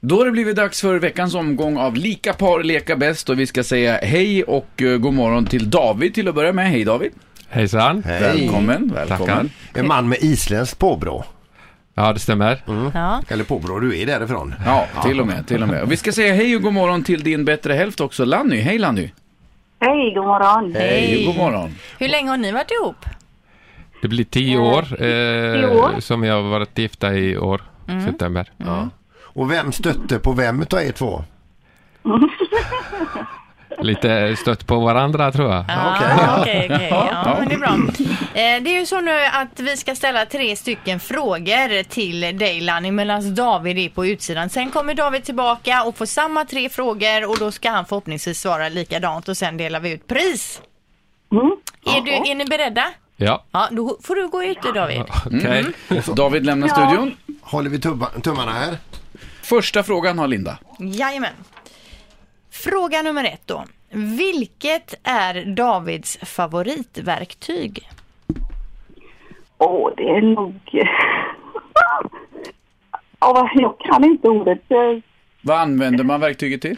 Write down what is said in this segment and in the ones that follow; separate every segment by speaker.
Speaker 1: Då har det blivit dags för veckans omgång av Lika par leka bäst och vi ska säga hej och eh, god morgon till David till att börja med. Hej David!
Speaker 2: Hejsan.
Speaker 3: Hej.
Speaker 1: Välkommen, välkommen.
Speaker 2: Tackar.
Speaker 3: En man med isländskt påbrå.
Speaker 2: Ja, det stämmer.
Speaker 3: Mm.
Speaker 4: Ja.
Speaker 3: Eller påbrå, du är därifrån.
Speaker 1: Ja, till och med, till och med. Och vi ska säga hej och god morgon till din bättre hälft också, Lanny. Hej Lanny!
Speaker 5: Hej, god morgon.
Speaker 1: God morgon.
Speaker 4: Hur länge har ni varit ihop?
Speaker 2: Det blir tio år, eh,
Speaker 5: år.
Speaker 2: som jag har varit gifta i år, september.
Speaker 3: Ja. Och vem stötte på vem utav er två?
Speaker 2: Lite stött på varandra tror jag.
Speaker 4: Ja, okej, okej. Ja, men det är bra. Eh, Det är ju så nu att vi ska ställa tre stycken frågor till dig Lanny medan David är på utsidan. Sen kommer David tillbaka och får samma tre frågor och då ska han förhoppningsvis svara likadant och sen delar vi ut pris. Är, du, är ni beredda?
Speaker 2: Ja,
Speaker 4: Ja, då får du gå ut nu David.
Speaker 3: Mm.
Speaker 2: okej.
Speaker 1: David lämnar studion.
Speaker 3: Håller vi tubba, tummarna här?
Speaker 1: Första frågan har Linda.
Speaker 4: Jajamän. Fråga nummer ett då. Vilket är Davids favoritverktyg?
Speaker 5: Åh, det är nog... Ja, vad- jag kan inte ordet. eh,
Speaker 1: Vad använder man verktyget till?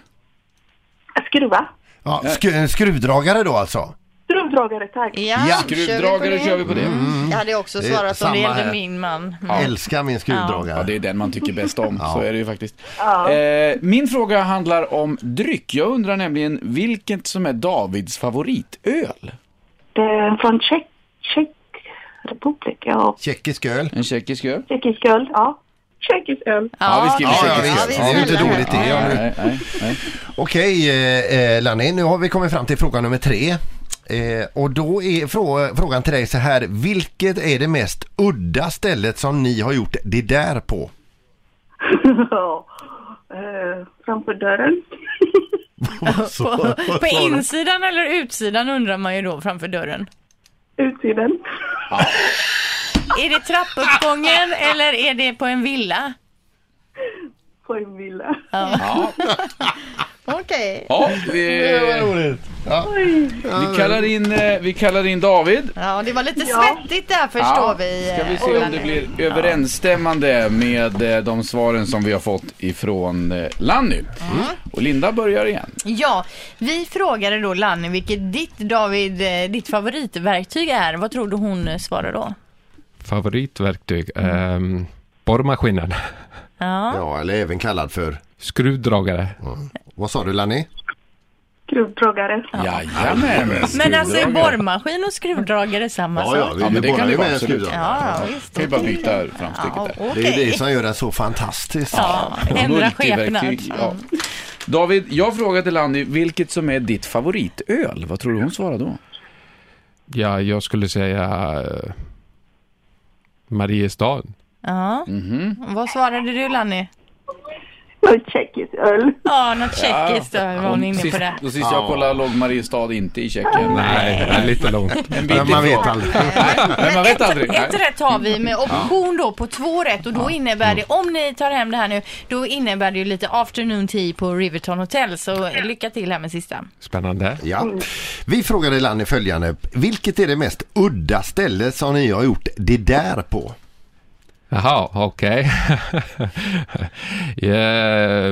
Speaker 5: Skruva.
Speaker 3: Ja, sk en skruvdragare då alltså?
Speaker 5: Skruvdragare, tack.
Speaker 4: Ja,
Speaker 3: Ja.
Speaker 4: kör vi på
Speaker 1: Skruvdragare
Speaker 4: det? Mm.
Speaker 1: kör vi på det.
Speaker 4: Jag hade också
Speaker 3: Mm. Det är
Speaker 4: svarat om det
Speaker 3: samma
Speaker 4: gällde
Speaker 3: här.
Speaker 4: min man. Mm.
Speaker 3: Älskar min skruvdragare.
Speaker 1: Ja, det är den man tycker bäst om. Så är det ju faktiskt.
Speaker 5: Ja.
Speaker 1: Eh, min fråga handlar om dryck. Jag undrar nämligen vilket som är Davids favoritöl?
Speaker 5: Det är Eh, från Tjeck... Tjeck... Republik, ja.
Speaker 3: Tjeckisk öl.
Speaker 1: En tjeckisk öl?
Speaker 5: Tjeckisk öl, ja. Tjeckisk öl.
Speaker 1: Ja, vi skriver
Speaker 3: Ja, ja,
Speaker 1: tjeckisk
Speaker 3: visst.
Speaker 1: öl.
Speaker 3: Det är ju inte
Speaker 4: snälla
Speaker 3: dåligt
Speaker 4: här.
Speaker 3: det. Ja, nu.
Speaker 1: Nej, nej, nej.
Speaker 3: Okej, eh, eh, Lanny, nu har vi kommit fram till fråga nummer tre. Eh, och då är frå frågan till dig så här, vilket är det mest udda stället som ni har gjort det där på?
Speaker 5: Ja. Eh, framför dörren.
Speaker 4: På, på insidan eller utsidan undrar man ju då framför dörren.
Speaker 5: Utsidan.
Speaker 4: Är det trappuppgången eller är det på en villa?
Speaker 5: På en villa.
Speaker 4: Okej.
Speaker 1: Ja, vi,
Speaker 3: roligt!
Speaker 1: vi, kallar in, eh, vi kallar in David.
Speaker 4: Ja, det var lite
Speaker 5: Ja.
Speaker 4: svettigt där förstår
Speaker 1: Ja,
Speaker 4: vi.
Speaker 1: Ska vi
Speaker 4: eh,
Speaker 1: se om
Speaker 4: Lanny.
Speaker 1: det blir överensstämmande med eh, de svaren som vi har fått ifrån eh, Lanny. Och Linda börjar igen.
Speaker 4: Ja, vi frågade då Lanny vilket ditt David, eh, ditt favoritverktyg är. Vad tror du hon eh, svarar då?
Speaker 2: Favoritverktyg. ehm, borrmaskinen.
Speaker 4: Ja,
Speaker 3: Ja, eller även kallad för,
Speaker 2: Skruvdragare.
Speaker 3: vad sa du Lanny?
Speaker 5: Skruvdragare.
Speaker 1: Jajamän.
Speaker 4: men alltså är
Speaker 1: Skruvdragare.
Speaker 4: borrmaskin och skruvdragare samma sak?
Speaker 3: vi,
Speaker 1: Ja, men det
Speaker 3: vi
Speaker 1: kan
Speaker 3: kan
Speaker 1: det
Speaker 3: ju
Speaker 1: vara,
Speaker 3: med en
Speaker 1: absolut.
Speaker 3: skruvdragare.
Speaker 4: Ja, visst.
Speaker 1: Vi bara byta framstycket
Speaker 4: Ja,
Speaker 1: där.
Speaker 4: okej.
Speaker 3: Det är ju det som gör den så fantastisk.
Speaker 4: Ja, ändra skepnad.
Speaker 1: Multiverktyg, ja. David, jag frågade Lanny vilket som är ditt favoritöl. Vad tror du hon svarade då?
Speaker 2: Ja, jag skulle säga eh, Mariestad.
Speaker 4: Ja.
Speaker 1: Mm-hmm.
Speaker 4: Vad svarade du Lanny?
Speaker 5: Och tjeckisk öl.
Speaker 4: Ja, något tjeckiskt då var hon inne
Speaker 1: sist,
Speaker 4: på det.
Speaker 1: Då sist jag kollade låg Mariestad inte i Tjeckien.
Speaker 2: Nej, det är lite långt.
Speaker 1: En bit
Speaker 3: Men man
Speaker 1: ifrån.
Speaker 3: vet aldrig.
Speaker 1: Men man vet aldrig.
Speaker 4: Ett
Speaker 1: Nej.
Speaker 4: rätt har vi med option då på två rätt och då innebär det, om ni tar hem det här nu, då innebär det ju lite afternoon tea på Riverton Hotel. Så lycka till här med sista.
Speaker 2: Spännande.
Speaker 3: Ja. Vi frågade Lanny följande, vilket är det mest udda stället som ni har gjort det där på?
Speaker 2: Jaha, okej. ja,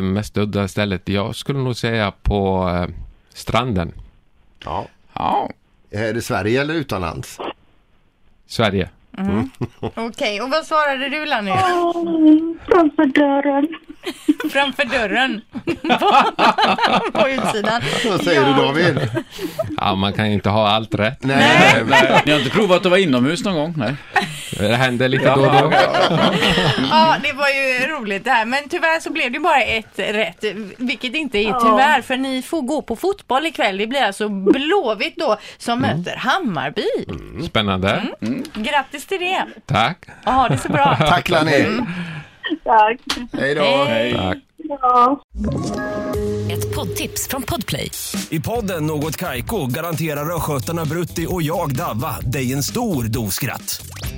Speaker 2: mest udda stället. Jag skulle nog säga på eh, stranden.
Speaker 3: Ja.
Speaker 1: Ja.
Speaker 3: Är det Sverige eller utomlands?
Speaker 2: Sverige.
Speaker 4: Okej, och vad svarade du Lanny?
Speaker 5: Åh, Framför dörren.
Speaker 4: Framför dörren. på, på utsidan.
Speaker 3: Vad säger du David?
Speaker 2: Ja, man kan ju inte ha allt rätt.
Speaker 3: Nej.
Speaker 1: Ni har inte provat att vara inomhus någon gång? Nej.
Speaker 2: Det händer lite då och då.
Speaker 4: Ja, det var ju roligt det här. Men tyvärr så blev det bara ett rätt. Vilket inte är tyvärr, för ni får gå på fotboll ikväll. Det blir alltså Blåvitt då som möter Hammarby.
Speaker 2: Spännande.
Speaker 4: Grattis till det!
Speaker 2: Tack.
Speaker 4: Och ha det så bra!
Speaker 3: Tack Lanny!
Speaker 5: Tack.
Speaker 3: Hej då!
Speaker 2: Tack.
Speaker 5: Ja.
Speaker 6: Ett poddtips från Podplay.
Speaker 7: I podden Något Kaiko garanterar östgötarna Brutti och jag, Davva, dig en stor dos skratt.